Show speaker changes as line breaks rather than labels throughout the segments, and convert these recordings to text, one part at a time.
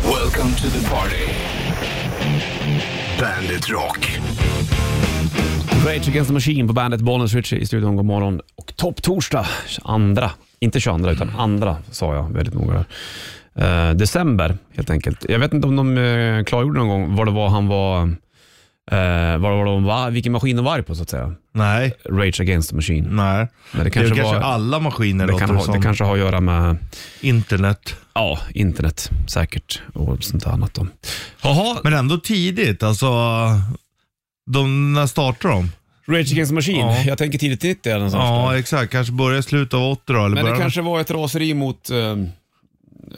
Welcome to the party. Bandit Rock.
Rage Against the Machine på bandet Bollnäs Ritchie i studion. God morgon och topptorsdag andra, inte 22 utan andra sa jag väldigt noga. där. Eh, december helt enkelt. Jag vet inte om de eh, klargjorde någon gång vad det var han var, eh, vad det var de var, vilken maskin de var på så att säga.
Nej,
Rage Against the Machine.
nej.
Men det
Det är
kanske,
kanske
var,
alla maskiner
det,
Mm, låter
kan ha,
som.
det kanske har att göra med
Internet.
ja, internet säkert och sånt där annat. Då. Jaha,
Men ändå tidigt, alltså. De, när startar de?
Rage Against the Machine.
Ja.
Jag tänker tidigt 90 eller någonstans. där.
Ja, exakt. Kanske börjar i slutet av 80 då, eller
Men det
början-
kanske var ett raseri mot eh,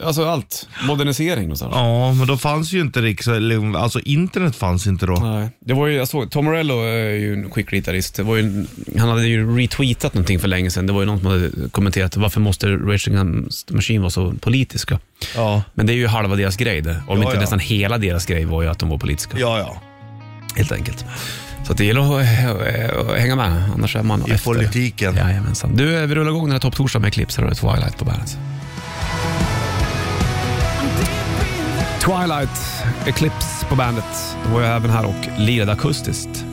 alltså allt, modernisering någonstans.
Ja, men då fanns ju inte riks... eller, Alltså internet fanns inte då.
Nej. Det var ju, jag såg, Tom Morello är ju en skicklig gitarrist. Det var ju, en- han hade ju retweetat någonting för länge sedan. Det var ju någon som hade kommenterat varför måste Rage Against the Machine vara så politiska?
Ja,
Men det är ju halva deras grej det. Om
Ja,
inte
ja.
nästan hela deras grej var ju att de var politiska.
ja. ja.
Helt enkelt. Så att det gäller att eh, eh, hänga med, annars är man
I politiken.
Jajamensan. Du, eh, vi rullar igång den här topptorsdagen med Eclipse. Här har du Twilight på bandet. Twilight, Eclipse på bandet. De var ju även här och lirade akustiskt.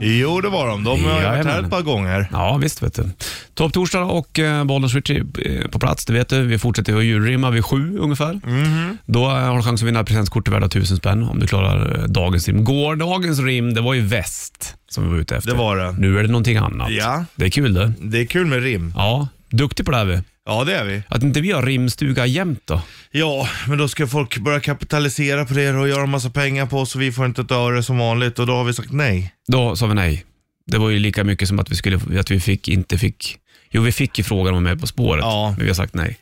Jo, det var de. De har jag varit
Jajamän.
här ett par gånger.
Ja, visst vet du. Topptorsdag och eh, Bollnäs Ritchie eh, på plats, det vet du. Vi fortsätter att julrimma vid sju ungefär.
Mhm.
Då eh, har du chans att vinna presentkort värda tusen spänn om du klarar eh, dagens rim. Gårdagens rim, det var ju väst som vi var ute efter.
Det var det.
Nu är det någonting annat.
Ja.
Det är kul det.
Det är kul med rim.
Ja, duktig på det här vi.
Ja, det är vi.
Att inte vi har rimstuga jämt då.
Ja, men då ska folk börja kapitalisera på det och göra en massa pengar på oss och vi får inte ett öre som vanligt och då har vi sagt nej.
Då sa vi nej. Det var ju lika mycket som att vi, skulle, att vi fick, inte fick... Jo, vi fick ju frågan om med På spåret,
Ja. Mm.
men vi har sagt nej.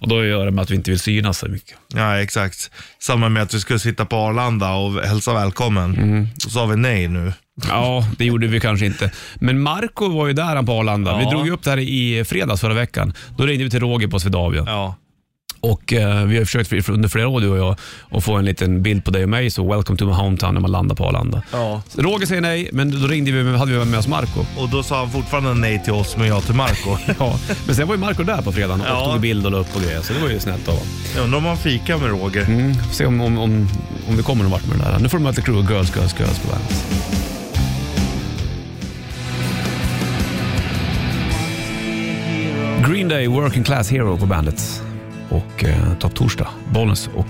Och då gör det med att vi inte vill synas så mycket.
Ja, exakt. Samma med att vi skulle sitta på Arlanda och hälsa välkommen.
Mhm.
Då sa vi nej nu.
Ja, det gjorde vi kanske inte. Men Marco var ju där han på Arlanda. Vi
Ja.
drog ju upp det här i fredags förra veckan. Då ringde vi till Roger på Swedavia.
Ja,
Och eh, vi har försökt för- under flera år du och jag att få en liten bild på dig och mig, så welcome to my hometown när man landar på Arlanda.
Ja.
Roger säger nej, men då ringde vi, hade vi med oss Marco.
och då sa han fortfarande nej till oss men ja till Marco.
Ja, men sen var ju Marco där på fredagen och
Ja.
tog bild och la upp och grejer, så det var ju snällt av honom.
Jag undrar om han fikar med Roger.
Mm, får se om, om, om, om vi kommer någon vart med det där. Nu får de möta crew och Girls, Girls, Girls på bandet. Green Day, Working Class Hero på bandet. Och eh, Topp Torsdag, Bollnäs och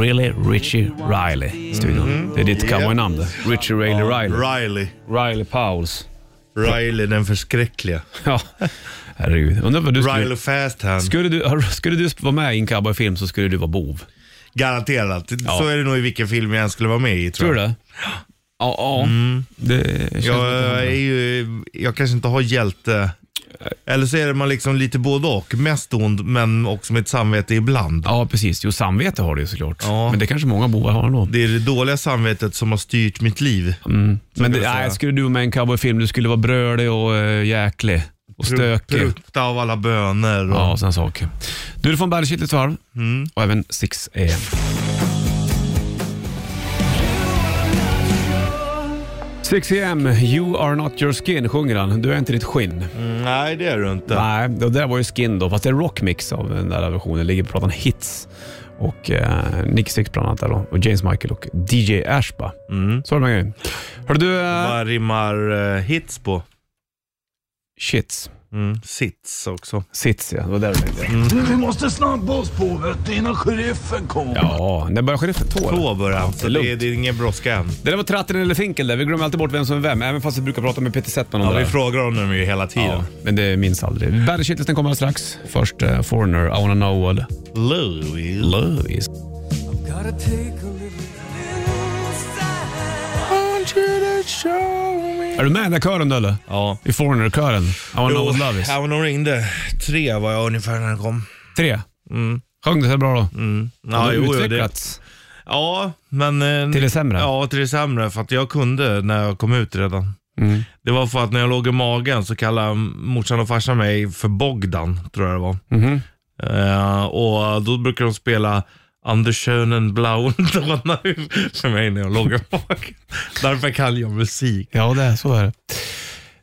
Really Richie Riley i studion. Det är ditt
Yeah.
cowboynamn det. Richie Riley Riley.
Riley.
Riley Powles.
Riley den förskräckliga.
Ja, herregud. Undrar vad du skulle...
Riley Fasthand.
Skulle du, skulle du vara med i en cowboyfilm så skulle du vara bov.
Garanterat. Så är det nog i vilken film jag än skulle vara med i tror
Tror
jag.
du det? Ja. ja. Det känns lite-
Jag, eh, är ju, jag kanske inte har hjälte. Eller så är man liksom lite både och. Mest ond men också med ett samvete ibland.
Ja, precis. Jo, samvete har du ju såklart.
Ja.
Men det kanske många bovar har ändå.
Det är det dåliga samvetet som har styrt mitt liv.
Mm. Men det,
jag säga.
nej, skulle du vara med i en cowboyfilm, du skulle vara brölig och uh, jäklig. Och stökig.
Prutta av alla böner. Och...
Ja, Mm. och sådana saker. Du, du får en bandet varv och även 6 am. Six AM, You are not your skin, sjunger han. Du är inte ditt skinn.
Mm, Nej, det är du inte.
Nej, det där var ju Skin då, fast det är rockmix av den där versionen. Ligger på plattan Hits och eh, Nick Six bland annat där då, och James Michael och DJ Ashba.
Mm.
Så är det med grejen. Hörru du, eh,
Vad rimmar eh, hits på?
shits.
Mm. Sits också.
Sits ja, det var där du tänkte.
Mm.
Vi måste snabba oss på vet du, innan sheriffen kommer.
Ja, när börjar sheriffen? Två? eller?
Två börjar han, så
det är
alltså, det är, det är ingen brådska än.
Det där var Tratten eller Finkel där. Vi glömmer alltid bort vem som är vem, även fast vi brukar prata med Peter Settman om
Ja,
det
vi
där.
frågar honom ju hela
Ja,
tiden.
men det minns aldrig. Bandit Shitlisten kommer alldeles strax. Först eh, Foreigner, I wanna know all
Louis.
love is. Är du med i den där kören då eller?
Ja.
I Foreigner-kören? I wanna know
Jo,
what love is.
ja, men de ringde. Tre var jag ungefär när den kom.
Tre? Sjöng det så bra då? Har
Mm. Ja,
det
jo, jo, det-
utvecklats?
Ja, men... eh,
Till det sämre?
Ja, till det sämre. För att jag kunde när jag kom ut redan.
Mm.
Det var för att när jag låg i magen så kallade morsan och farsan mig för Bogdan, tror jag det var.
Mhm.
Eh, och då brukar de spela Andersönen blauen dåna för mig när jag låg i magen. Därför kan jag musik.
Ja, det är, så är det.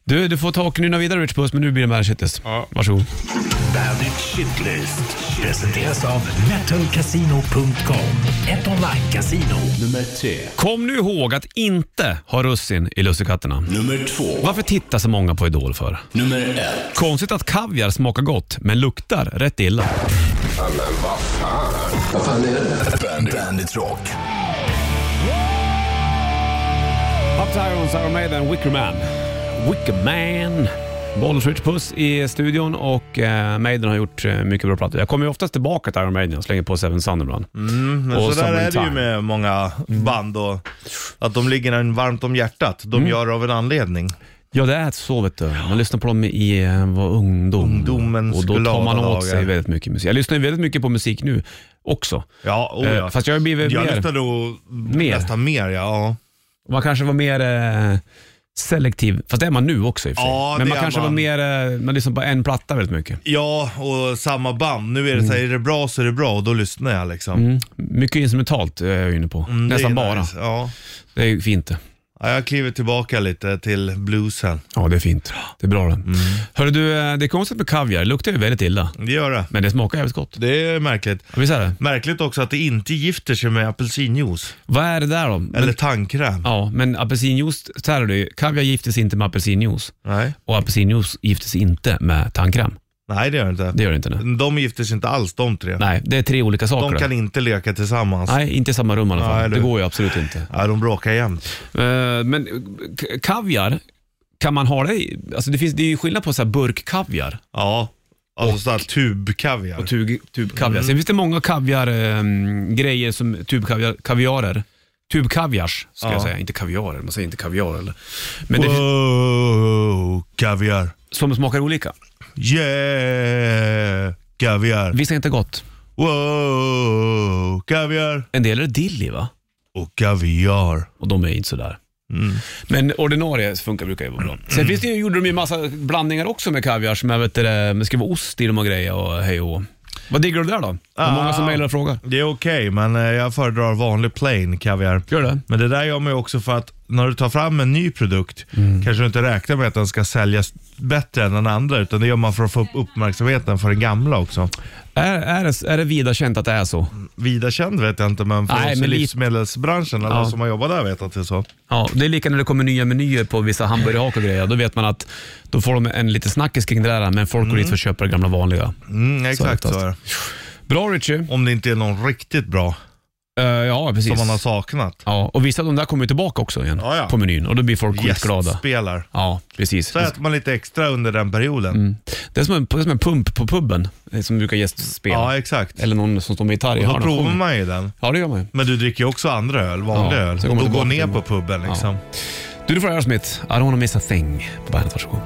Du, du får ta och nynna vidare Rich Puss, men nu blir det Manchester.
Ja.
Varsågod.
Bandit Shitlist. Presenteras av metalcasino.com. Ett online-casino.
Nummer tre.
Kom nu ihåg att inte ha russin i lussekatterna.
Nummer två.
Varför tittar så många på Idol för?
Nummer ett.
Konstigt att kaviar smakar gott, men luktar rätt illa.
Vad fan är det? Bandit, Bandit Rock.
Pop Tyrons, Iron Maiden, Wickerman. Wickerman. Bollnäs Rich Puss i studion och eh, Maiden har gjort eh, mycket bra plattor. Jag kommer ju oftast tillbaka till Iron Maiden och slänger på Seven Sun ibland.
Mm, Men
Och
så där är det ju
Summertime.
med många band och att de ligger en varmt om hjärtat. De gör det av en anledning.
Ja, det är så vet du. Man lyssnar på dem i eh, var ungdom.
Ungdomens
Och då tar
glada
man åt
dagar.
sig väldigt mycket musik. Jag lyssnar ju väldigt mycket på musik nu också.
Ja, oh, ja.
Eh, fast jag har blivit
jag
mer-
lyssnar nog nästan mer. Ja, ja.
Man kanske var mer eh, selektiv, fast det är man nu också i och för sig.
Ja,
Men
det
man
är
kanske var
man.
mer, eh, man lyssnar på en platta väldigt mycket.
ja, och samma band. Nu är det så här, är det bra så är det bra och då lyssnar jag liksom.
Mm. Mycket instrumentalt eh, är jag inne på.
Det är
Nästan bara.
nice. Ja.
Det är ju fint det.
ja, jag kliver tillbaka lite till bluesen.
Ja, det är fint. Det är bra det.
Mm.
Hörru du, eh, det är konstigt med kaviar. Det luktar ju väldigt illa.
Det gör det.
Men det smakar jävligt gott.
Det är märkligt.
Ja, Visst är det?
Märkligt också att det inte gifter sig med apelsinjuice
Vad är det där då?
eller
Men,
tandkräm.
ja, men apelsinjuice, så här är det ju. Kaviar gifter sig inte med apelsinjuice.
Nej.
Och apelsinjuice gifter sig inte med tandkräm.
Nej, det gör det inte.
Det gör det inte nu.
De gifter sig inte alls de tre.
Nej, det är tre olika saker.
De kan inte leka tillsammans.
Nej, inte i samma rum i alla fall.
Nej, eller
det
hur?
går ju absolut inte.
Ja, de bråkar jämt.
Eh, men k- kaviar, kan man ha det i? Alltså det, finns, det är ju skillnad på så här burkkaviar
Ja. Alltså sådär tubkaviar.
och tub, tubkaviar.
Mm.
Sen finns det många kaviar-grejer som tubkaviar, kaviarer. Tubkaviars, ska jag
Ja.
säga. Inte kaviarer, man säger inte kaviar. Eller. Men det,
Wow, kaviar.
som smakar olika.
Yeah, kaviar.
Vissa är inte gott.
Wow, kaviar.
En del är dilli, va?
Och kaviar.
Och de är inte sådär.
Mm.
Men ordinarie funkar brukar ju vara bra. Sen finns det ju, gjorde de ju massa blandningar också med kaviar som jag vet inte, det ska vara ost i dem och grejer och hej och hå. Vad diggar du där då? Det är många som
Ah.
mejlar och frågar.
Det är okej, men eh, jag föredrar vanlig plain kaviar.
Gör det?
Men det där gör man ju också för att när du tar fram en ny produkt
Mm.
kanske du inte räknar med att den ska säljas bättre än den andra utan det gör man för att få upp uppmärksamheten för den gamla också.
Är, är, det, är det vida känt att det är så?
Vida känd vet jag inte men för
Nej,
oss i
men lite-
livsmedelsbranschen, alla
Ja.
som har jobbat där vet att det är så.
Ja, det är lika när det kommer nya menyer på vissa hamburgerhak och grejer. Då vet man att då får de en liten snackis kring det där, men folk går dit för att köpa det gamla vanliga.
Mm, exakt så,
oftast.
är det.
Bra Richie.
Om det inte är någon riktigt bra
Eh, ja, precis.
som man har saknat.
Ja, och vissa av de där kommer ju tillbaka också igen
Ja, ja.
på menyn och då blir folk skitglada.
Gästspelar.
Ja, precis.
Så äter man lite extra under den perioden.
Mm. Det är som en, det är som en pump på puben eh, som brukar gästspela.
Ja, exakt.
Eller någon som står med gitarr i
Då
hörnan och
provar
sjunger.
man ju den.
Ja, det gör man ju.
Men du dricker ju också andra öl, vanlig
Ja,
öl.
så går
Och
man
då går
tillbaka
ner
till-
på puben liksom.
Du, du får Aerosmith. I don't wanna miss a thing på bandet. Varsågod.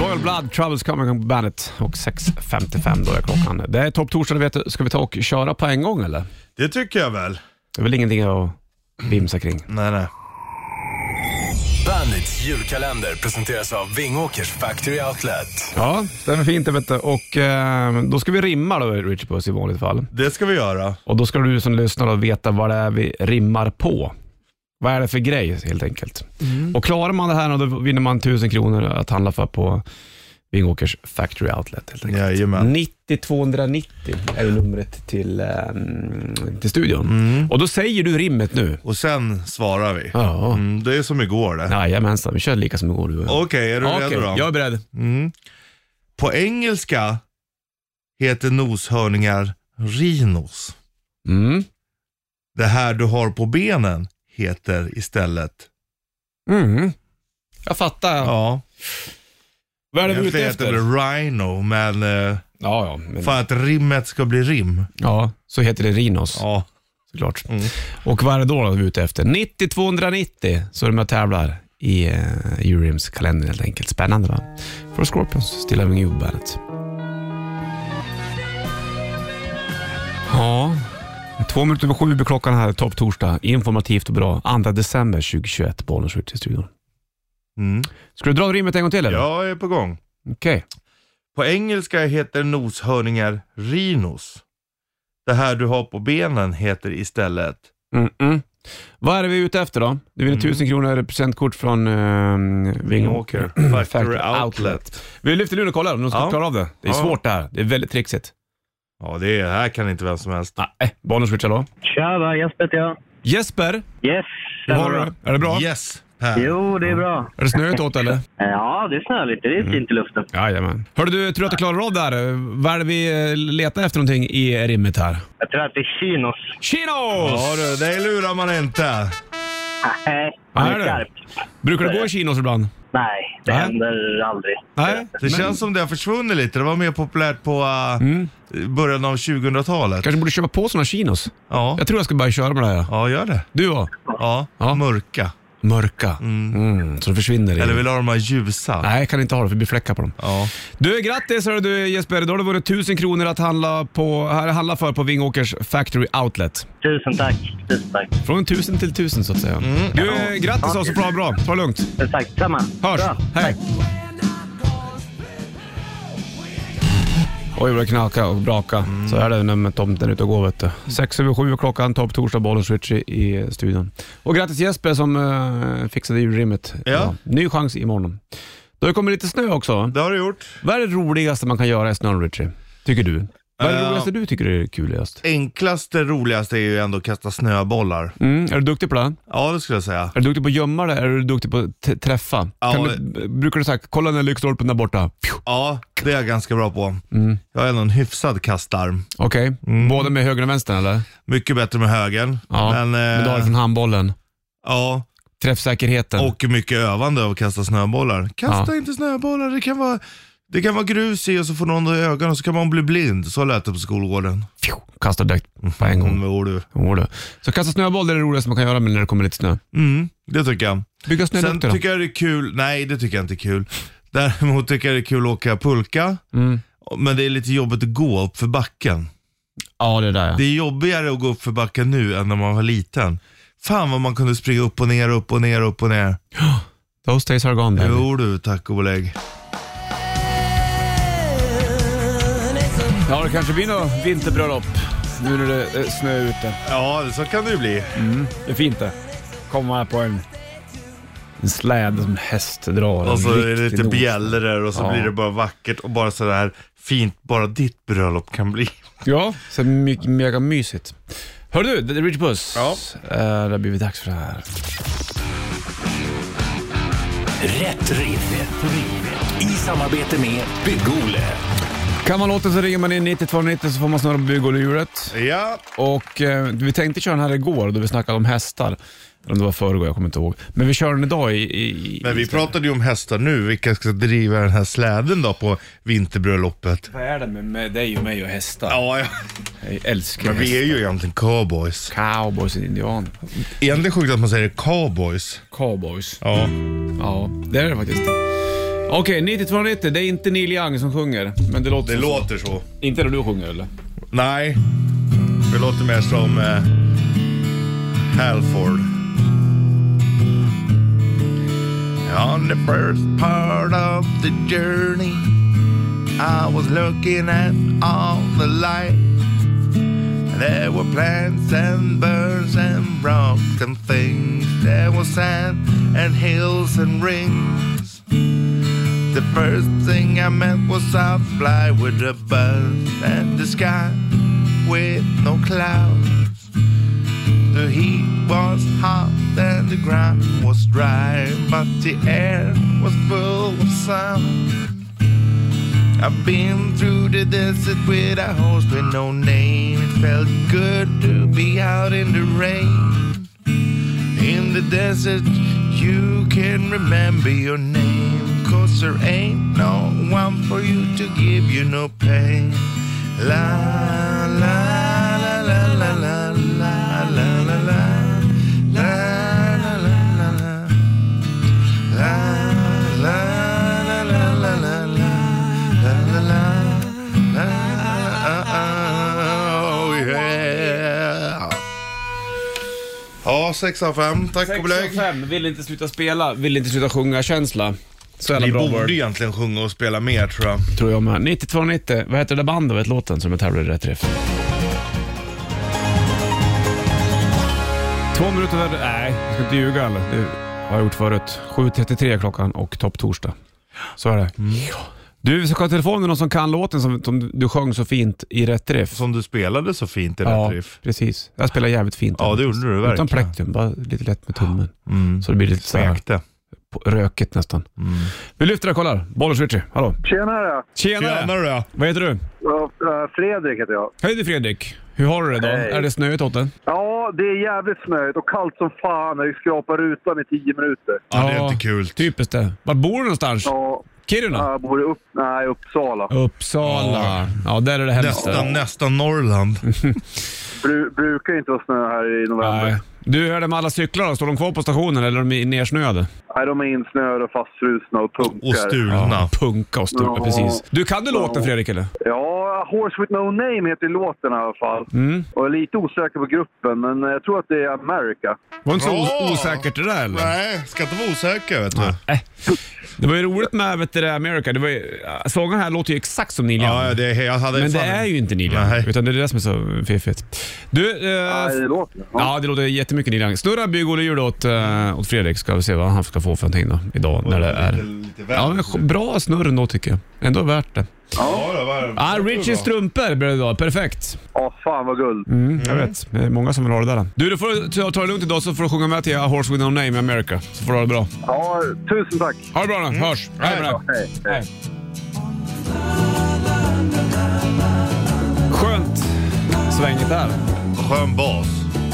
Royal Blood, Troubles Coming på bandet och 6.55 då är klockan. Det är topptorsdag, du vet du. Ska vi ta och köra på en gång eller?
Det tycker jag väl.
Det är väl ingenting att vimsa kring.
Nej, nej.
Bandits julkalender presenteras av Vingåkers Factory Outlet.
Ja, stämmer fint det vet du. Och eh, då ska vi rimma då, Richard Puss i vanligt fall.
Det ska vi göra.
Och då ska du som lyssnar då veta vad det är vi rimmar på. Vad är det för grej helt enkelt? Och klarar man det här då vinner man 1000 kronor att handla för på Vingåkers Factory Outlet helt enkelt.
Jajamän.
90 290 är ju numret till, eh, till studion.
Mm.
Och då säger du rimmet nu.
Och sen svarar vi.
Ja.
Mm, det är som igår det.
Jajamensan, vi kör lika som igår du och jag.
Okej, är du
Okej,
redo då?
jag är beredd.
Mm. På engelska heter noshörningar rhinos.
Mm.
Det här du har på benen heter istället...
Mm. Jag fattar.
Ja,
Vad är det vi är ute
egentligen
efter?
heter det rhino, men eh,
Ja, ja, men,
för att rimmet ska bli rim.
ja, så heter det Rhinos.
Ja,
såklart.
Mm.
Och vad är det då vi är ute efter? 90 290 så är de med och tävlar i uh, Urims kalender helt enkelt. Spännande va? För Scorpions, Still Having You på bandet. Ja, två minuter över sju blir klockan här, topp torsdag. Informativt och bra. 2 december 2021, Bollnäs ut i studion.
mm.
Ska du dra rimmet en gång till eller?
jag är på gång.
Okej.
På engelska heter noshörningar rhinos. Det här du har på benen heter istället...
Mm-mm. Vad är det vi är ute efter då? Du
Mm.
vinner 1000 kronor i presentkort från eh, Vingåker
Factory Outlet.
Vi lyfter luren och kollar om de ska
Ja.
klara av det. Det är
Ja.
svårt det här. Det är väldigt trixigt.
Ja, det är, här kan inte vem som helst.
Nej, Bonus Rich, hallå?
Tjaba, Jesper heter jag.
Jesper,
Yes,
hur har du det? Är det bra?
Yes, Per.
Jo, det är bra.
Är det snöigt åt eller?
Ja, det snöar lite.
Mm.
Det är fint i luften.
Jajamän. Hörru du, tror du att du klarar av det här? Vad är det vi eh, letar efter någonting i rimmet här?
Jag tror att det är chinos.
Chinos!
Ja du, det lurar man inte.
Nej,
Vad
det
är
är
det?
skarpt.
Brukar du gå i chinos ibland?
Nej, det
Nej.
händer aldrig.
Nej.
Det känns som det har försvunnit lite. Det var mer populärt på uh,
Mm.
början av 2000-talet.
Kanske borde köpa på sådana chinos?
Ja.
Jag tror jag ska börja köra med det här.
ja, gör det.
Du då?
Ja,
Ja.
mörka.
Mörka. Mm, så det försvinner. i-
Eller vill du ha de här ljusa?
Nej, jag kan inte ha det för det blir fläckar på dem.
Ja.
Du, grattis hörru du Jesper. Då har du vunnit 1000 kronor att handla, på, här, handla för på Vingåkers Factory Outlet.
Tusen tack. Tusen tack.
Från 1000 till 1000 så att säga.
Mm.
Du, eh, grattis och så bra, bra. Ta det lugnt.
Tusen tack. Samma.
Hörs.
Bra.
Hej. Oj vad det knakar och braka.
Mm.
Så är det när med tomten är ute och går vet du. Sex över sju är klockan, topp torsdag, bollen switch i, i studion. Och grattis Jesper som eh, fixade julrimmet.
Ja.
idag. Ny chans imorgon. Då har det kommit lite snö också. va?
Det har du gjort.
Vad är det roligaste man kan göra i snön Richie? Tycker du? Vad är det
Eh.
roligaste du tycker är kuligast?
Enklaste, roligaste är ju ändå att kasta snöbollar.
Mm, är du duktig på det?
Ja, det skulle jag säga.
Är du duktig på att gömma det? Är du duktig på att t- träffa?
Ja,
kan du, brukar du säga, kolla den där lyktstolpen där borta. Pju.
Ja, det är jag ganska bra på.
Mm.
Jag har ändå en hyfsad kastarm.
Okej,
Mm.
både med höger och vänster eller?
Mycket bättre med högern.
Ja, men, du har det från handbollen.
ja,
Träffsäkerheten.
och mycket övande av att kasta snöbollar. Kasta
Ja.
inte snöbollar, det kan, vara, det kan vara grus i och så får någon det i ögonen och så kan man bli blind. Så lät det på skolgården.
Fju, kastar direkt på en gång.
Mm, jo, du.
Jo då. Så kasta snöboll det är det roligaste man kan göra med när det kommer lite snö.
Mm, det tycker jag.
Bygga
Sen
snölukter då.
tycker jag det är kul, nej det tycker jag inte är kul. Däremot tycker jag det är kul att åka pulka.
Mm.
Men det är lite jobbigt att gå upp för backen.
Ja, det där ja.
Det är jobbigare att gå upp för backen nu än när man var liten. Fan vad man kunde springa upp och ner, upp och ner, upp och ner.
Those days are gone baby.
Jo du, tack och belägg.
Ja, det kanske blir något vinterbröllop nu när det är snö ute.
Ja, så kan det ju bli.
Det är fint det. Komma på en, en släde som häst drar.
Och så
En
är det
riktig
lite
nos.
bjällror och så
Ja.
blir det bara vackert och bara sådär fint bara ditt bröllop kan bli.
Ja, så my- mega mysigt. Hör du, det är Rich Puss.
Ja.
Eh, det har blivit dags för det här.
Rätt riff. I samarbete med Bygg-Ole.
Kan man låta så ringer man in 9290 så får man snurra på bygghjulet.
Ja,
Och eh, vi tänkte köra den här igår då vi snackade om hästar. Eller om det var förrgår, jag kommer inte ihåg. Men vi kör den idag i... i
men vi pratade ju om hästar nu, vilka ska driva den här släden då på vinterbröllopet.
Vad är det med, med dig och mig och hästar?
Ja, ja.
Jag älskar
Men vi är ju egentligen cowboys.
Cowboys och indianer.
Egentligen sjukt att man säger cowboys.
Cowboys.
Ja.
Ja, det är det faktiskt. Okej, 9290, det är inte Neil Young som sjunger. Men det låter
Det
som-
låter så.
Inte när du sjunger eller?
Nej, det låter mer som eh, Halford. On the first part of the journey I was looking at all the lights There were plants and birds and rocks and things There was sand and hills and rings The first thing I meant was I fly with a buzz and the sky with no clouds. The heat was hot and the ground was dry, but the air was full of sound. I've been through the desert with a horse with no name. It felt good to be out in the rain. In the desert, you can remember your name. Cause there ain't no one for you to give you no pain. La la la la la la la la la la la la la la la. Oh, Ja, 6 av 5. Tack och belägg.
6 vill inte sluta spela, vill inte sluta sjunga-känsla. Så jävla
Vi
bra
borde
word.
egentligen sjunga och spela mer tror jag.
Tror jag med. 9290, vad heter det där bandet, vet låten som jag tävlar i Rätt Riff? Två minuter över... Nej, jag ska inte ljuga eller? Det har jag gjort förut. 7.33 klockan och topp torsdag. Så är det.
Mm.
Du, vi ska ha telefon med någon som kan låten som, som du sjöng så fint i rätt riff.
Som du spelade så fint i
ja,
rätt riff.
precis. Jag spelar jävligt fint.
Ja, det gjorde du
Utan
verkligen.
plektrum, bara lite lätt med tummen.
Mm.
Så det blir lite så här,
Smekte.
på- rökigt nästan.
Mm.
Vi lyfter och kollar. Bollers Richie, hallå.
Tjenare!
Tjenare!
Tjenare ja.
Vad heter du?
Ja, eh, Fredrik heter jag.
Hej du Fredrik. Hur har du det idag?
Hej.
Är det snöigt åt
Ja, det är jävligt snöigt och kallt som fan när vi skrapar rutan i tio minuter.
ja, det är inte kul.
Typiskt det. Var bor du någonstans?
Ja,
Kiruna?
jag bor i upp, nej, Uppsala.
Uppsala. Ja, där är det hemskt.
Nästan, nästan Norrland.
Bru, brukar inte vara snö här i november.
Nej.
Nej,
Du, hör det med alla cyklar då? Står de kvar på stationen eller är de nersnöade?
de är insnöade och fastfrusna och punkar.
Och stulna.
Punka och stulna,
Ja.
precis. Du, kan du låten
Ja.
Fredrik eller?
Ja, Horse with no name heter låten i alla fall.
Mm.
Och jag är lite osäker på gruppen, men jag tror att det är America.
Var inte så
Ja.
os- osäkert det där eller?
Nej, ska inte vara osäker vet du.
Det var ju roligt med vet du, det där America. Det var ju, sången här låter ju exakt som Neil Young.
Ja, det är, jag hade
Men det
fan-
är ju inte Neil Young,
Nej.
utan det är det som är så fiffigt. Du, eh,
Nej, det låter.
Ja, det låter jättemycket Neil Young. Snurra bygg-Olle åt, eh, åt Fredrik, ska vi se vad han ska få för någonting då, idag när det
Lite,
är...
lite väl.
Ja, men sk- bra snurr ändå tycker jag. Ändå värt det.
Ja, det var-
Ah, Richies
det var bra.
strumpor blev det idag. Perfekt.
Ja, fan vad guld.
Mm, Jag vet, det är många som vill ha det där. Du, du får ta, ta det lugnt idag så får du sjunga med till A Horse With No Name i America. Så får du ha det bra.
Ja, tusen tack.
Ha det bra nu, hörs. Hej med dig.
Hej.
Skönt svänget där.
Skön bas.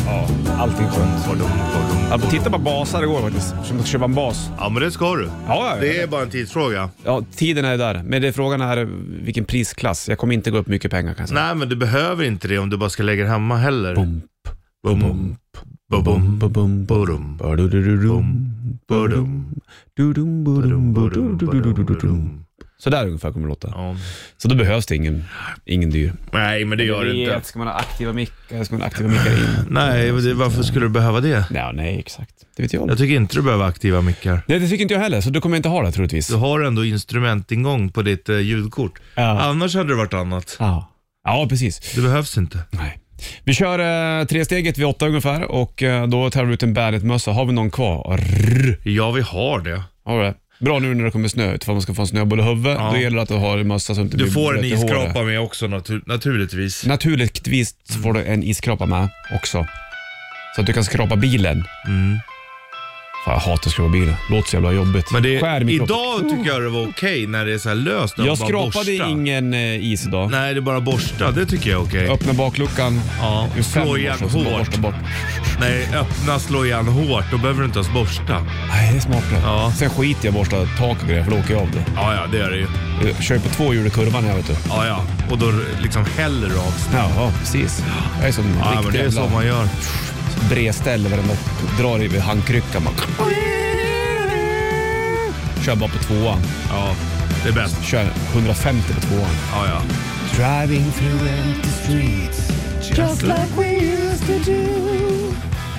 Ja, allting skönt. Ja, titta på basar igår faktiskt. Jag måste köpa en bas.
Ja, men det ska du.
Ja, ja,
Det
ja.
är bara en tidsfråga.
ja, tiden är ju där. Men det är frågan är vilken prisklass. Jag kommer inte gå upp mycket pengar kan jag säga.
Nej, men du behöver inte det om du bara ska lägga det hemma heller.
Bump,
Bum, bum, bum, bum, bum,
bum,
bum, bum, bum, bum, bum, bum.
Så där ungefär kommer det låta.
Ja.
Så då behövs det ingen, ingen dyr.
Nej, men det gör det inte.
Ska man ha aktiva mickar? Ska man ha aktiva mickar in?
Nej, men det, varför skulle du behöva det?
Ja, nej, exakt. Det vet jag.
Jag tycker inte du behöver aktiva mickar.
Nej, det tycker inte jag heller, så du kommer jag inte ha det troligtvis.
Du har ändå instrumentingång på ditt eh, ljudkort.
Ja.
Annars hade det varit annat.
Ja, ja precis.
Det behövs inte.
Nej. Vi kör eh, tresteget vid åtta ungefär och eh, då tar vi ut en Bandet-mössa. Har vi någon kvar?
Ja, vi har det.
Har vi det? Bra nu när det kommer snö, ifall man ska få en snöboll i huvudet.
Ja.
Då gäller det att du har en mössa som inte
Du
blir
får en
blöt i håret.
isskrapa med också natur- naturligtvis.
Naturligtvis får du en iskrapa med också. Så att du kan skrapa bilen.
Mm.
Fan, jag hatar att skrapa bilen. Låter så jävla jobbigt.
Men det,
Skär i min kropp.
idag tycker jag det var okej när det är så här löst. och
Jag
bara
skrapade
borsta.
ingen eh, is idag.
Nej, det är bara borsta. Det tycker jag är okej.
Öppna bakluckan.
Ja,
Just fem
slå
år
igen
sedan så bara
hårt.
borsta bort.
Nej, öppna, slå igen hårt. Då behöver du inte ens borsta.
Nej, det är smart.
Ja.
Sen skiter jag i att borsta tak och grejer för då åker jag av det.
Ja, ja, det gör det ju.
Jag kör på två hjul i kurvan här vet du.
Ja, ja. Och då liksom häller du av snö.
Ja, precis. Jag är som en
Ja, men
riktig
det är
jävla
så man gör.
bredställ varenda drar i vid handkryckan.
Mm.
Man... Kör bara på tvåan.
Ja, det är bäst.
Kör 150 på tvåan.
Ja, ja.
Driving through empty streets just like we used to do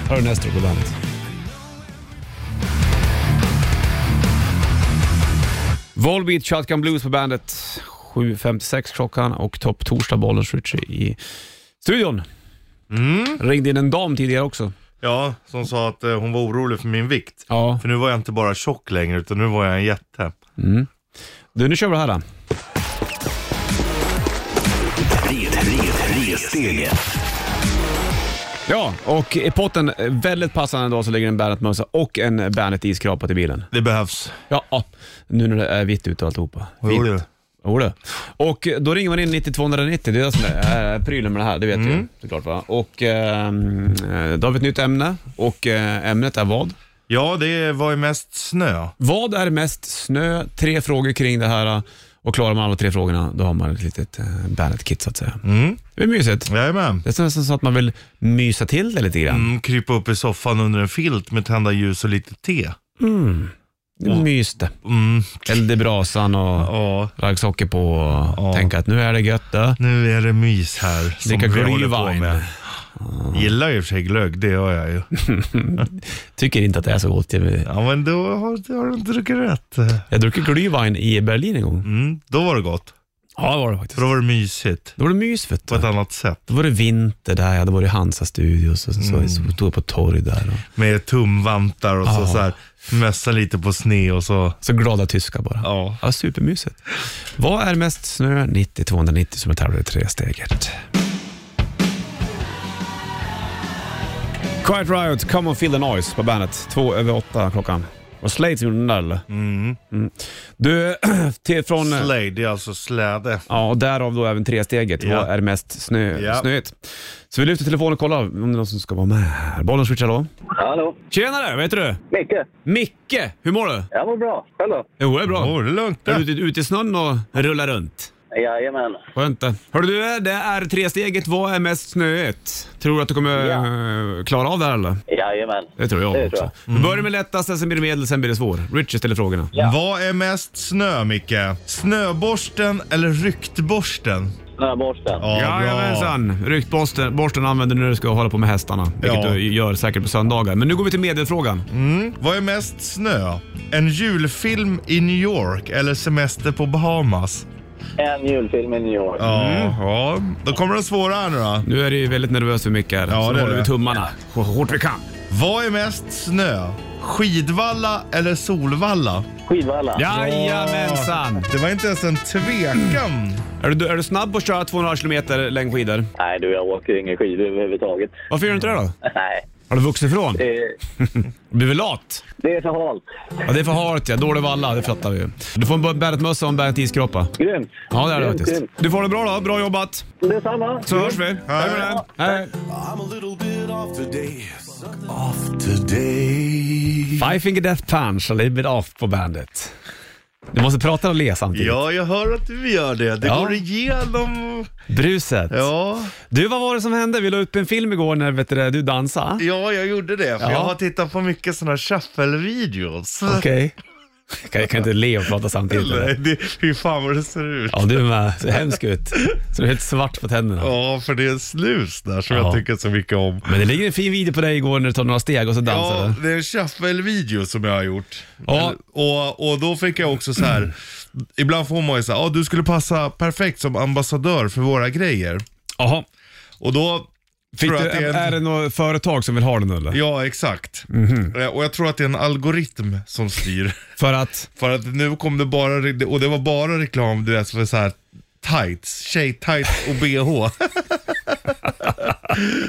Här är Nestor på bandet. Volbeat Shotgun Blues på bandet. 7.56 klockan och topp torsdag Bollens Ritchie i studion. Ringde in en dam tidigare också.
Ja, som sa att eh, hon var orolig för min vikt.
Ja.
För nu var jag inte bara tjock längre, utan nu var jag en jätte.
Du, nu kör vi det här. Då. Ja, och i potten, eh, väldigt passande idag, så ligger en Bandet-mössa och en Bandet-iskrapa till bilen.
Det behövs.
Ja, ja, nu när det är vitt ute och alltihopa.
Vad gjorde du?
Jo du. Och eh, då ringer man in 9290, det är det som är eh, prylen med det här, det vet du ju såklart va. Och ehm, eh, då har vi ett nytt ämne och eh, ämnet är vad?
Ja, det var ju mest snö.
Vad är mest snö? Tre frågor kring det här och klarar man alla tre frågorna då har man ett litet eh, Bandet-kit så att säga.
Mm.
Det är mysigt.
Jajamän.
Det är nästan så att man vill mysa till det lite grann.
Mm, krypa upp i soffan under en filt med tända ljus och lite te.
Mm. Mys det.
Mm.
Eld i brasan och
Ja,
raggsockor på och
Ja.
tänka att nu är det gött eh. det.
nu är det mys här. Som
Dricka
vi håller på
glühwein.
med. Gillar ju i och för sig glögg, det gör jag ju.
Tycker inte att det är så gott. Jag,
Ja, men då har, då har du inte druckit rätt.
jag druckit glühwein i Berlin en gång.
Mm, då var det gott.
Ja, det var det faktiskt.
För då var det mysigt
Då var det mys vet
på ett
du.
annat sätt.
Då var det vinter där, ja, då var det Hansa Studios och sen
Mm.
så så stod jag på torg där. Och,
Med tumvantar och så,
Ja.
så här, mössa lite på sne och så.
så glada tyskar bara.
Ja.
Ja, supermysigt. Vad är mest snö 90-290 som är tävlar i tresteget? Quiet Riot, Come and Feel the Noise på bandet. Två över åtta klockan. Och Slade som gjorde den där eller? Mm. Du, till, från...
Slade, det är alltså släde.
Ja, och därav då även tresteget.
Ja.
Vad är mest snö,
Ja.
snöigt? Så vi lyfter telefonen och kollar om det är någon som ska vara med här. Bollen switch, hallå?
Hallå?
Tjenare, vad heter du?
Micke?
Micke, hur mår du?
Jag mår bra. Själv då?
Jo, det är bra.
Åh, det är lugnt
Är
det.
du ute, ute i snön och rullar runt?
Jajamän.
Skönt det. Hörru du, det är tresteget. Vad är mest snöigt? Tror du att du kommer eh, klara av det här eller?
Jajamän.
Det tror jag
Det
också.
tror jag.
Du börjar med lättaste, sen blir det medel, sen blir det svår. Richard ställer frågorna.
Vad är mest snö, Micke? Snöborsten eller ryktborsten?
Snöborsten.
Ja,
Jajamensan! Ryktborsten borsten använder du när du ska hålla på med hästarna. Vilket
Ja. Mm.
du gör säkert på söndagar. Men nu går vi till medelfrågan.
Vad är mest snö? En julfilm i New York eller semester på Bahamas?
En julfilm i New York.
Ja,
Mm.
ja. då kommer den svåra här nu då.
Nu är du ju väldigt nervös för Micke här.
Ja,
så
det är
håller vi
det.
tummarna så hårt vi kan.
Vad är mest snö? Skidvalla eller Solvalla?
Skidvalla.
Jajamensan!
Det var inte ens en tvekan.
Är du, är du snabb på att köra 200 kilometer längdskidor?
Nej du, jag åker inga skidor överhuvudtaget.
Varför gör du inte det då?
Nej,
Har du vuxit ifrån?
det är,
Blir vi lat?
det är för halt.
Ja, det är för halt ja. Dålig valla, det fattar vi ju. Du får en Bernhardt-mössa och en Bernhardt-iskroppa.
Grymt.
Ja, det är det
Grymt,
faktiskt.
grymt.
Du får det bra då. Bra jobbat.
Detsamma.
Så hörs vi. Hej med dig.
I'm
Hej.
a little bit off today. Off today.
Five Finger Death Punch och Leave It Off på bandet. Du måste prata och le samtidigt.
Ja, jag hör att vi gör det. Det
Ja.
går igenom.
Bruset.
Ja,
Du, vad var det som hände? Vi la upp en film igår när vet du, det, du dansade.
ja jag gjorde det. För
Ja.
Jag har tittat på mycket sådana här shuffle-videos.
Okej. Jag kan- Jag kan inte le och prata samtidigt.
Nej,
eller?
det, hur fan vad det ser ut.
Ja, du är med. Ser hemsk ut. Så du är helt svart på tänderna.
Ja, för det är snus där som
Ja.
jag tycker så mycket om.
Men det ligger en fin video på dig igår när du tar några steg och så dansar
Ja,
du.
det är en shuffle-video som jag har gjort.
Ja.
Och, och då fick jag också så här. ibland får man ju såhär, ja du skulle passa perfekt som ambassadör för våra grejer.
Jaha.
Och då
Fick
tror
du,
jag att det
är,
är en,
det något företag som vill ha den eller?
Ja, exakt.
Mhm.
Eh, Och jag tror att det är en algoritm som styr.
För att...
för att nu kom det bara, re- och det var bara reklam du vet för så här tights, tjej-tights och bh.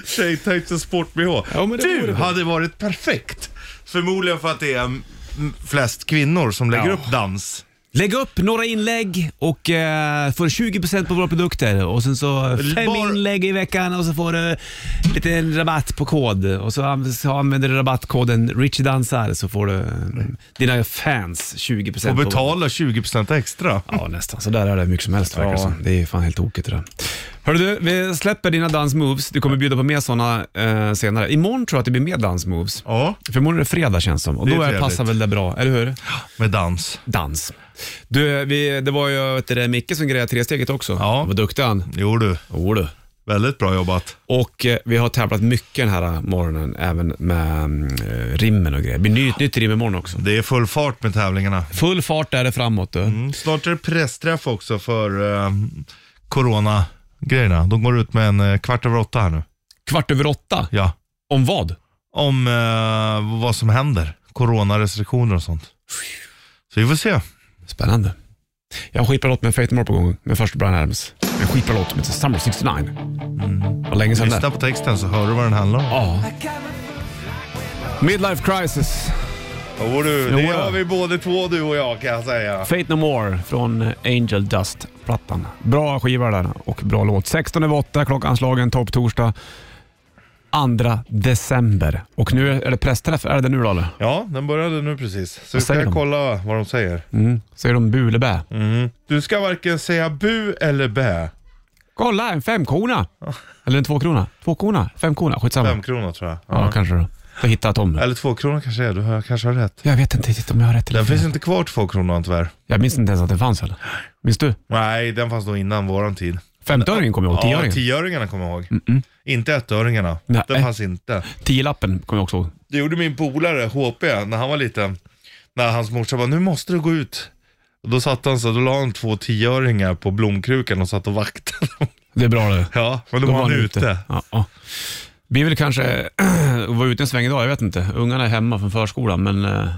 tjej-tights och sport-bh.
Ja, men det vore
du
det.
hade varit perfekt. Förmodligen för att det är mm, flest kvinnor som lägger
Ja.
upp dans.
Lägg upp några inlägg och eh, får 20% på våra produkter och sen så fem
Bara-
inlägg i veckan och så får du lite rabatt på kod och så an- så använder du rabattkoden RichieDansar så får du eh, dina fans 20%
Och
på-
betalar 20% extra.
Ja nästan, så där är det mycket som helst verkar det som. Det är fan helt tokigt det där. Hörru du, vi släpper dina dansmoves. Du kommer bjuda på mer sådana eh, senare. Imorgon tror jag att det blir mer dansmoves.
Ja,
För imorgon är det fredag känns som och
Det är
då är
trevligt.
passar väl det bra, eller hur?
med dans.
dans. Du, vi, det var ju vet du, det, Micke som grejade tresteget också.
Ja.
Vad duktig han.
Jo du,
Jo du.
väldigt bra jobbat.
Och eh, vi har tävlat mycket den här morgonen, även med eh, rimmen och grejer. Det blir nytt, nytt rim imorgon också.
Det är full fart med tävlingarna.
Full fart är det framåt du.
Mm, Snart är det pressträff också för eh, corona-grejerna. De går ut med en eh, kvart över åtta här nu.
Kvart över åtta.
Ja.
Om vad?
Om eh, vad som händer. Coronarestriktioner och sånt. Så vi får se.
Spännande. Jag har en skitbra låt med Faith No More på gång, men först Brian Adams. En skitbra låt som heter Summer 69. Vad länge sedan det är.
Lyssna på texten så hör du vad den handlar om.
Ja. Midlife Crisis,
Jo du,
Jo, ja.
både två du och jag kan jag säga.
Fate No More från Angel Dust-plattan. Bra skiva där och bra låt. 16 över 8, klockanslagen, topp torsdag 2 december. Och nu är det pressträff, är det nu då eller?
Ja, den började nu precis. Så vi
Vad säger
ska
de?
kolla vad de säger.
Mm. Säger de bulebä?
Du ska varken säga bu eller bä.
Kolla, en femkrona! Eller en tvåkrona? Tvåkrona? Femkrona? Skitsamma.
Fem kronor tror jag.
Ja, kanske då. Då hittar jag Tom.
Eller två kronor kanske är, du har, kanske har rätt.
Jag vet inte riktigt om jag har rätt eller
Den
fel.
finns inte kvar två kronor tyvärr.
Jag minns inte ens att den fanns heller. Minns du?
Nej, den fanns nog innan våran tid.
Femtöringen kommer jag ihåg,
Ja,
tioöringen.
tioöringarna kommer jag ihåg. Inte ettöringarna.
Nej.
Den fanns inte.
Tiolappen kommer jag också ihåg.
Det gjorde min polare, HP, när han var liten. När hans morsa bara, nu måste du gå ut Och då satt han så, då la han två tioöringar på blomkrukan och satt och vaktade dem.
Det är bra det.
Ja, men då, var han ute.
Ja, ja. Vi vill kanske vara ute en sväng idag, jag vet inte. Ungarna är hemma från förskolan, men eh,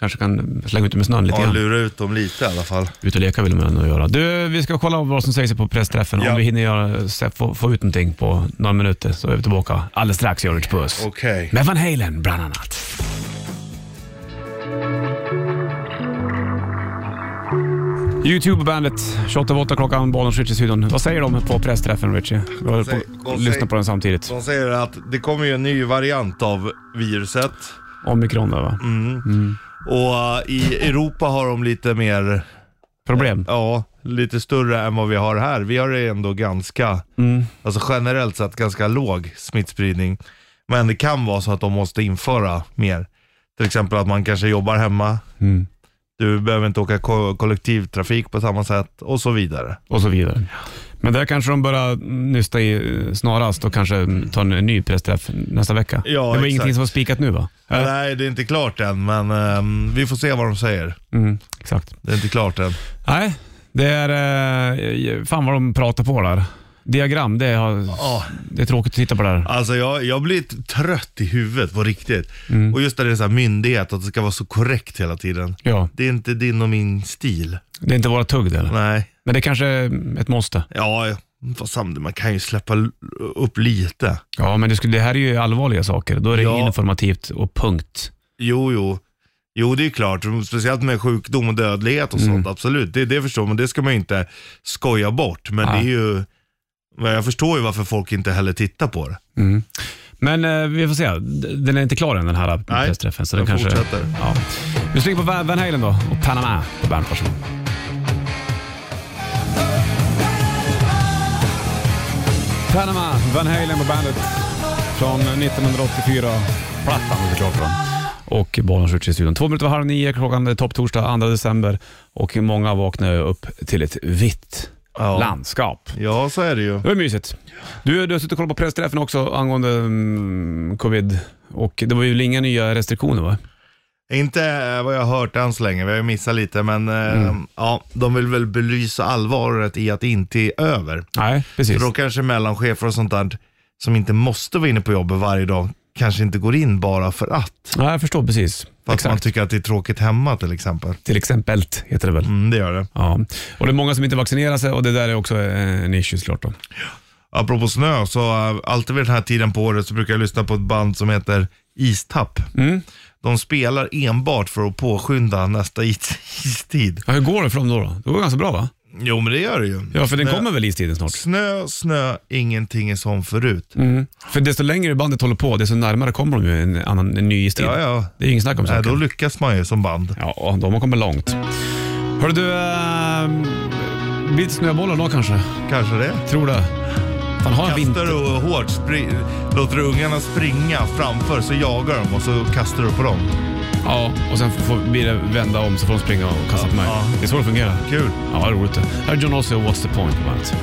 kanske kan slänga ut dem i snön lite
Ja,
grann.
lura ut dem lite i alla fall.
Ut och leka vill de ändå göra. Du, vi ska kolla vad som sägs på pressträffen.
Ja.
Om vi hinner göra, se, få, få ut någonting på några minuter så är vi tillbaka alldeles strax, George Puss.
Okej.
Med Van Halen bland annat. Youtube-bandet, 28.08 klockan, Bollnäs Ritchie-studion. Vad säger de på pressträffen Ritchie? Vi håller
säger-
på
de
att lyssna
säger-
på den samtidigt.
De säger att det kommer ju en ny variant av viruset.
Omikron där
Mm.
va?
Och eh, i Europa har de lite mer,
Problem?
ja, lite större än vad vi har här. Vi har det ändå ganska, alltså generellt sett ganska låg smittspridning. Men det kan vara så att de måste införa mer. Till exempel att man kanske jobbar hemma. Du behöver inte åka ko- kollektivtrafik på samma sätt och så vidare.
Och så vidare. Men där kanske de börjar nysta i eh, snarast och kanske mm, ta en ny pressträff nästa vecka.
Ja,
det var
exakt.
ingenting som var spikat nu va?
Nej, det är inte klart än, men ehm, vi får se vad de säger.
Mm, exakt.
Det är inte klart än.
Nej, det är... eh, Fan vad de pratar på där. Diagram, det, har,
Ja.
det är tråkigt att titta på där.
Alltså jag, jag blir t- trött i huvudet på riktigt. Och just när det är så här myndighet, att det ska vara så korrekt hela tiden.
Ja,
Det är inte din och min stil.
det är inte våra tugg det eller?
Nej.
Men det är kanske är ett måste.
Ja, fast samtidigt, man kan ju släppa l- upp lite.
Ja, men det, skulle, det här är ju allvarliga saker. Då är det
Ja.
informativt och punkt.
Jo, jo. Jo, det är klart. Speciellt med sjukdom och dödlighet och sånt. Absolut, det, det förstår man. Det ska man ju inte skoja bort. Men
Nej.
det är ju... men Jag förstår ju varför folk inte heller tittar på det.
Men eh, vi får se. D- Den är inte klar än den här eh,
Nej,
pressträffen. Så den
den
kanske,
fortsätter.
Ja. Vi slänger på Van Van Halen då och Panama på bandet. Varsågod. Panama, Van Halen på bandet från 1984-plattan såklart. Då. Och Bollnäs Ritchie i studion. Två minuter var halv nio, klockan är topptorsdag 2 december och många vaknar ju upp till ett vitt
Ja.
landskap.
Ja, så är det ju.
Det var mysigt. Du, du har suttit och kollat på pressträffen också angående mm, covid. Och det var ju inga nya restriktioner va?
Inte eh, vad jag har hört än så länge, vi har ju missat lite, men eh, ja, de vill väl belysa allvaret i att det inte är över.
Nej, precis.
För då kanske mellanchefer och sånt där som inte måste vara inne på jobbet varje dag kanske inte går in bara för att.
Ja, jag förstår precis.
För att man
Exakt.
tycker att det är tråkigt hemma till exempel.
Till exempel heter det väl.
Mm, det gör det.
Ja. Och det är många som inte vaccinerar sig och det där är också eh, en issue såklart. Då.
Apropå snö, så eh, alltid vid den här tiden på året så brukar jag lyssna på ett band som heter Istapp.
Mm.
De spelar enbart för att påskynda nästa is- istid.
Ja, hur går det för dem då? då? Det går ganska bra va?
Jo, men det gör det ju.
Ja, för den
Snö-
kommer väl istiden snart?
Snö, snö, ingenting är som förut.
Mm. För desto längre bandet håller på, desto närmare kommer de ju en, annan, en ny istid.
Ja, ja.
Det är ju ingen snack om
Nej,
saken.
då lyckas man ju som band.
Ja, och de har kommit långt. Hör du, äh, blir det snöbollar då kanske?
Kanske det.
Tror det. Fan, ha en
Kastar
vinter.
du hårt, spri- låter du ungarna springa framför så jagar de och så kastar du på dem.
Ja, och sen får, blir det vända om så får de springa och kasta på mig.
Ja.
Det är så det fungerar.
Kul.
Ja, det är roligt det. Här är John Ossie och What's the point på bandet.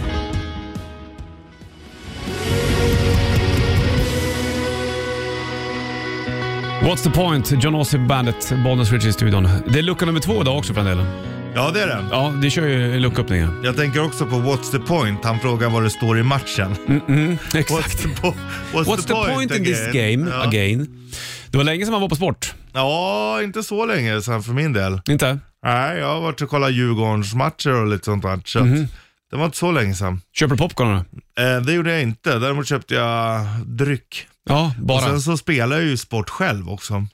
What's the point? John Ossie på bandet, Bollnäs Ritchie i studion. Det är lucka nummer två idag också för den delen.
Ja, det är den.
Ja, det kör ju lucköppningen.
Jag tänker också på What's the point? Han frågar vad det står i matchen. What's the, po- what's
What's the point in this
again?
game
ja.
again? Det var länge sedan man var på sport.
Ja, inte så länge sedan för min del.
Inte?
Nej, jag har varit och kollat Djurgårdens matcher och lite sånt där. Så
Mhm.
att Det var inte så länge sedan.
Köper du popcorn? då?
Eh, det gjorde jag inte. Däremot köpte jag dryck.
Ja,
Och
bara. Mm.
sen så spelar jag ju sport själv också.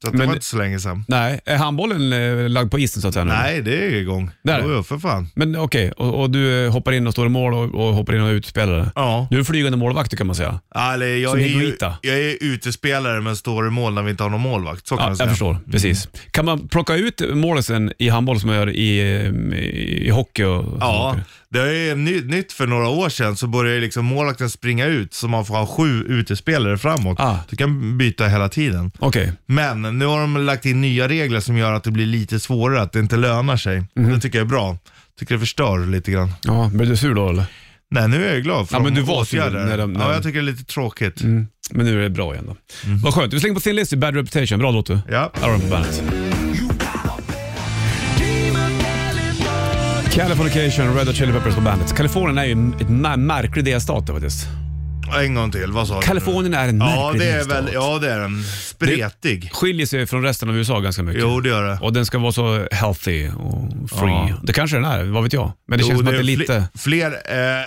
Så att det
Men-
var inte så länge sedan.
Nej, är handbollen eh, lagd på isen så att säga nu?
Nej, det är igång.
Där.
Jo, jo, för fan.
Men okej, och, och du eh, hoppar in och står i mål och, och hoppar in och är utspelare.
Ja.
Du är flygande målvakt kan man säga.
Alltså, jag,
Som
är ju,
Higuita.
jag är utespelare men står i mål när vi inte har någon målvakt. Så kan
Ja,
man
jag
säga. Mm.
förstår, precis. Kan man plocka ut målisen i handboll som man gör i, eh, i hockey och
Ja,
saker?
det är ny, nytt för några år sedan så började liksom målvakten springa ut så man får ha sju utespelare framåt.
Ah.
Du kan byta hela tiden.
Okej,
Men nu har de lagt in nya regler som gör att det blir lite svårare, att det inte lönar sig.
Mhm.
Det tycker jag är bra. Tycker det förstör lite grann.
ja, blev du sur då eller?
Nej, nu är jag glad för
Ja,
de
men du var sur
åtgärder.
när de- Mm. när de-
Ja, jag tycker det är lite tråkigt.
Men nu är det bra igen då.
Mm.
Vad skönt. Vi slänger på Thin Lizzy, Bad Reputation. Bra låt du.
Ja.
Där har du den på bandet. Californication, Red Hot Chili Peppers på bandet. Kalifornien är ju ett mä- märklig delstat då, faktiskt.
En gång till, vad sa du?
Kalifornien är en
Ja,
märklig
det är
delstat.
väl, ja det är den. Spretig.
Skiljer sig från resten av USA ganska mycket.
Jo, det gör det.
Och den ska vara så healthy och free.
Ja.
Det kanske den är, vad vet jag. Men det känns
Jo,
som att det är
fle-
lite...
Fler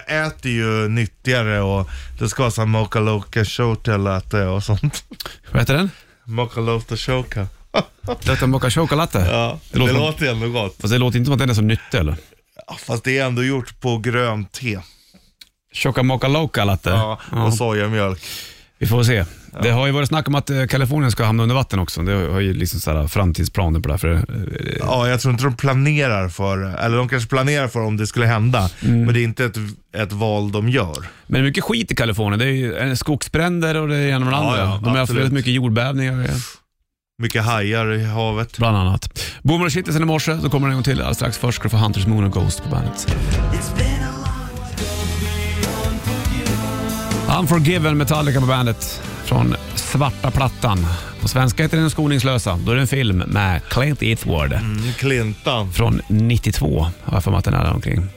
eh, äter ju nyttigare och det ska vara såhär mokaloka shortelatte eh, och sånt.
Vad heter den?
Mokaloka shoka.
Detta Mocha Choco Latte?
Ja,
Det
det,
låter-
låter ändå gott.
Fast det låter inte som att den är så nyttig eller?
Ja, Fast det är ändå gjort på grönt te.
Choca Mocha Loca Latte?
Ja, och sojamjölk.
Vi får se. Det har ju varit snack om att eh, Kalifornien ska hamna under vatten också. Det har ju liksom så här framtidsplaner på det. här, För, eh,
Ja, jag tror inte de planerar för, eller de kanske planerar för om det skulle hända,
Mm.
men det är inte ett, ett val de gör.
men det är mycket skit i Kalifornien. Det är ju eh, skogsbränder och det är ena med det
Ja,
andra.
ja,
De har haft
absolut.
väldigt mycket jordbävningar eh,
Mycket hajar i havet.
bland annat. Boomer och Kittelsen i morse, så kommer den en gång till. Alldeles strax först ska du få Hunters Moon och Ghost på bandet. Unforgiven Metallica på bandet från Svarta Plattan. På svenska heter den Skoningslösa. Då är det en film med Clint Eastwood.
Mm, Klintan.
från 92 har jag för mig att den är där omkring.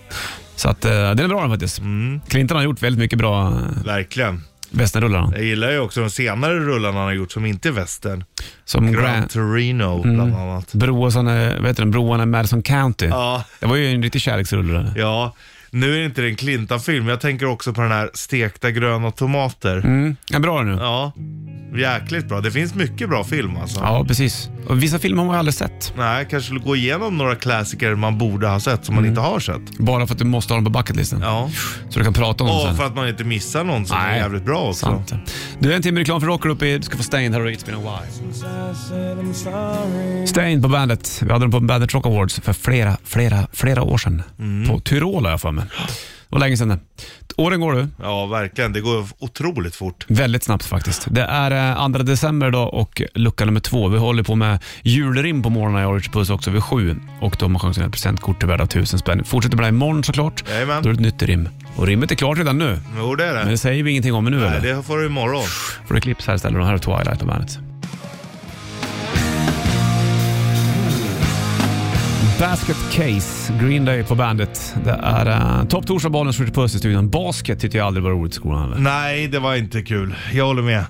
Så att, eh, den är bra den faktiskt. Clinton har gjort väldigt mycket bra eh,
Verkligen.
västernrullarna.
Jag gillar ju också de senare rullarna han har gjort som inte är västern.
Som
Gran
Grand Mm.
Torino bland annat.
Broarna, vet du den, Broarna i Madison County.
Ja,
Det var ju en riktig kärleksrulle. det.
ja. Nu är det inte det en Klintan-film, jag tänker också på den här stekta gröna tomater.
Mm. Ja, bra nu. Ja.
Ja, jäkligt bra. Det finns mycket bra film alltså.
precis. Och vissa filmer har man ju aldrig sett.
Nej, kanske skulle gå igenom några klassiker man borde ha sett som
Mm.
man inte har sett.
Bara för att du måste ha dem på bucketlisten.
Ja.
Så du kan prata om dem sen.
Och för att man inte missar någon som är
Nej.
jävligt bra också.
Sant. Du, en timme reklam för Rocker uppe i. Du ska få Stained här och It's been a while. Stained på bandet. Vi hade dem på Bandet Rock Awards för flera, flera, flera år sedan.
Mm.
På Tyrol har jag för mig. Det var länge sedan det. Åren går du.
Ja, verkligen. Det går otroligt fort.
Väldigt snabbt faktiskt. Det är eh, 2 december idag och lucka nummer två. Vi håller på med julrim på morgonen i Orange Puss också vid sju. Och då har man chansen att ett presentkort till värde av tusen spänn. Fortsätter med det här imorgon såklart.
Jajamän.
Då är det ett nytt rim. Och rimmet är klart redan nu.
Jo, det är
Men
det.
det säger vi ingenting om nu
Nej,
eller?
det får du imorgon.
Får du clips här istället. Och här är Twilight på bandet. Basket Case, Green Day på bandet. Det är uh, topp torsdag, bollen skjuter puss i studion. Basket tyckte jag aldrig var roligt i skolan. Eller?
Nej, det var inte kul. Jag håller med.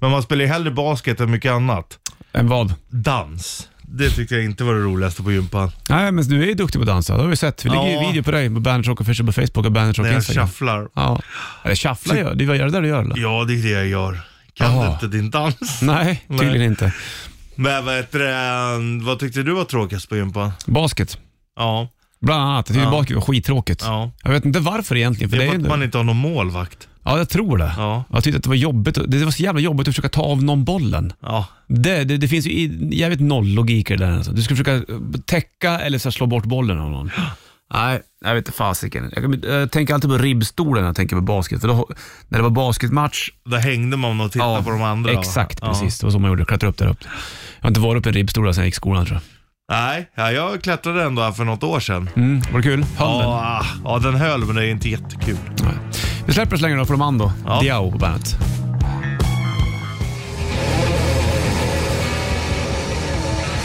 Men man spelar ju hellre basket än mycket annat.
En vad?
Dans. Det tyckte jag inte var det roligaste på gympan.
Nej, men du är ju duktig på att dansa. Det har vi sett. Vi ligger ju
Ja.
video på dig på Bandage Rock Official på Facebook och Bandage Rock
När jag
Instagram.
shufflar.
Ja. Eller shuffla gör du. Vad gör det där du gör eller?
Ja, det är det jag gör. Kan
Jaha.
du inte din dans?
Nej, tydligen
Nej.
inte.
Men vad heter det, ehm, vad tyckte du var tråkigast på gympan?
Basket,
Ja,
bland annat. Jag tyckte
Ja.
basket var skittråkigt.
ja.
Jag vet inte varför egentligen. För
Det
det
är
är
för
ju
att man inte har någon målvakt.
Ja, jag tror det.
Ja.
Jag tyckte att det var jobbigt. Det var så jävla jobbigt att försöka ta av någon bollen.
Ja,
Det, det, det finns ju i- jävligt noll logik i det där. Alltså. Du ska försöka täcka eller så här slå bort bollen av någon. Nej, jag vet inte fasiken. Jag, kan- jag tänker alltid på ribbstolen när jag tänker på basket. För då, när det var basketmatch.
där hängde man och tittade på de andra. va?
Exakt,
ja.
precis. Det var så man gjorde. Klättra upp där uppe. Jag har inte varit uppe i en ribbstol sedan jag gick i skolan tror
Nej, ja, jag klättrade ändå här för något år sedan.
jag. Mm, var det kul? Höll den?
Ja, ja, den höll men det är inte jättekul.
Nej. Vi släpper oss längre då för de andra.
Ja.
Diao på bandet.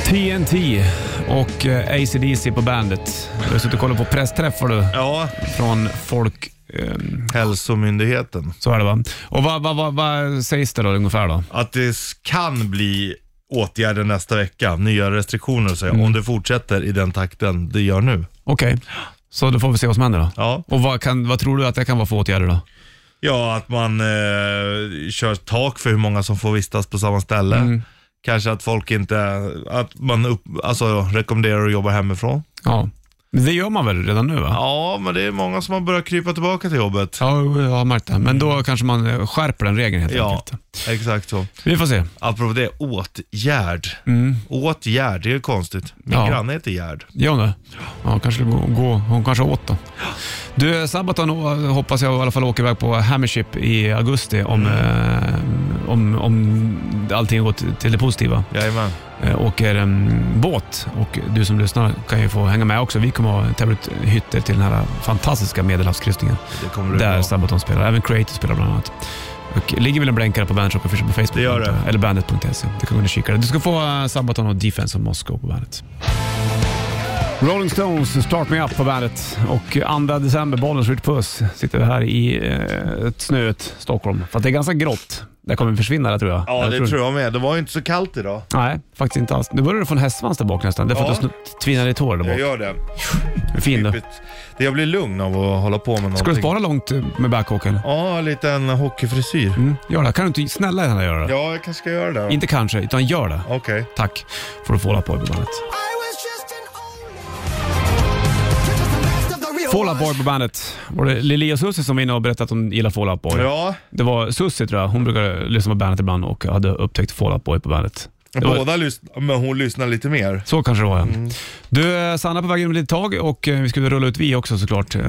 TNT och eh, ACDC på bandet. Jag har suttit och kollat på pressträffar du
Ja,
från folk. ehm,
Hälsomyndigheten.
Så är det va? Och vad, vad, vad, vad sägs det då ungefär då?
Att det s- kan bli åtgärder nästa vecka, nya restriktioner säger jag,
Mm.
om det fortsätter i den takten det gör nu.
Okej, så då får vi se vad som händer då.
Ja,
Och vad, kan, vad tror du att det kan vara för åtgärder då?
ja att man eh, kör tak för hur många som får vistas på samma ställe. Kanske att folk inte, att man upp, alltså, rekommenderar att jobba hemifrån.
Ja, men det gör man väl redan nu va?
Ja, men det är många som har börjat krypa tillbaka till jobbet.
Ja, jo, jag har märkt det. Men då kanske man eh, skärper den regeln helt
Mm. Ja,
enkelt.
exakt så.
Vi får se.
Apropå det, åtgärd. Åtgärd, det är ju konstigt. Min
Ja.
granne heter Gerd.
Gör hon det? Ja, kanske det går, går. Hon kanske åt då. Du, Sabaton eh, hoppas jag i alla fall åker iväg på Hammership i augusti om,
Mm.
eh, om, om allting går till till det positiva.
Jajamän.
Eh, åker um, båt och du som lyssnar kan ju få hänga med också. Vi kommer ha tävla ut hytter till den här fantastiska medelhavskryssningen
Det kommer bli
där
bra.
Sabaton spelar. Även Creator spelar bland annat. Och ligger väl en blänkare på Bandet Rock Official på Facebook?
Det gör det.
Eller bandet.se. Du kan gå in och kika där. Du ska få eh, Sabaton och Defense of Moscow på bandet. Rolling Stones, Start Me Up på bandet. Och 2 december, Bollnäs Ritch Puss, sitter vi här i eh, ett snöigt Stockholm. För att det är ganska grått. Det kommer försvinna det tror jag.
Ja,
jag
det tror jag med. Det var ju inte så kallt idag.
Nej, faktiskt inte alls. Nu börjar du få en hästsvans där bak nästan. Det är för att du
Ja.
snu- tvinnar i tår där
Jag
bak.
gör det.
Fin du.
Typiskt. Det- Jag blir lugn av att hålla på med någonting.
Ska du spara långt eh, med backhawken?
Ja, en liten hockeyfrisyr.
Mm, gör det. Kan du inte snälla gärna göra det?
Ja, jag kanske ska göra det. då.
Inte kanske, utan gör det.
Okej.
Tack får du få hålla på i bandet. Fall Out Boy på bandet. Var det Lilia och Susie som var inne och berättade att de gillar Fall Out Boy?
Ja,
Det var Susie tror jag. Hon brukar lyssna på bandet ibland och hade upptäckt Fall Out Boy på bandet. Det var,
båda lyssnar, men hon lyssnar lite mer.
så kanske det var ja.
Mm.
Du, eh, Sanna på väg in om ett litet tag och eh, vi ska rulla ut vi också såklart. Eh,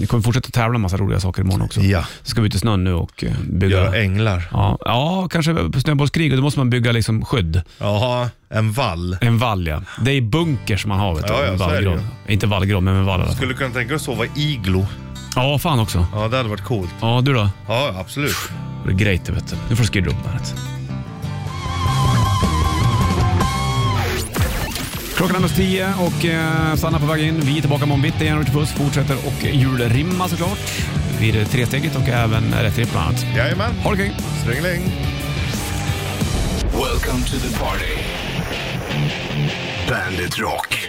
Vi kommer fortsätta tävla en massa roliga saker imorgon också.
Ja.
Så ska vi ut i snön nu och eh, bygga.
Gör änglar.
Ja, ja, kanske på snöbollskrig och då måste man bygga liksom skydd.
Jaha, en vall.
En vall ja. Det är bunkers man har vet du.
Ja, ja,
en
så är det
vallgrav. Inte vallgrav men en vall i alla fall.
Skulle kunna tänka dig att sova i iglo.
Ja, fan också.
Ja, det hade varit coolt.
Ja, du då?
Ja, absolut.
Det är grejt det vet du. Nu får du skidra upp bandet. Klockan är nästan tio och eh, Sanna på väg in. Vi är tillbaka imorgon bitti igen. Ritchie Puss fortsätter och julrimma såklart. Vid tresteget och även rätt ripp bland annat.
Jajamän.
Ha det kring.
Strängeläng.
Welcome to the party. Bandit Rock.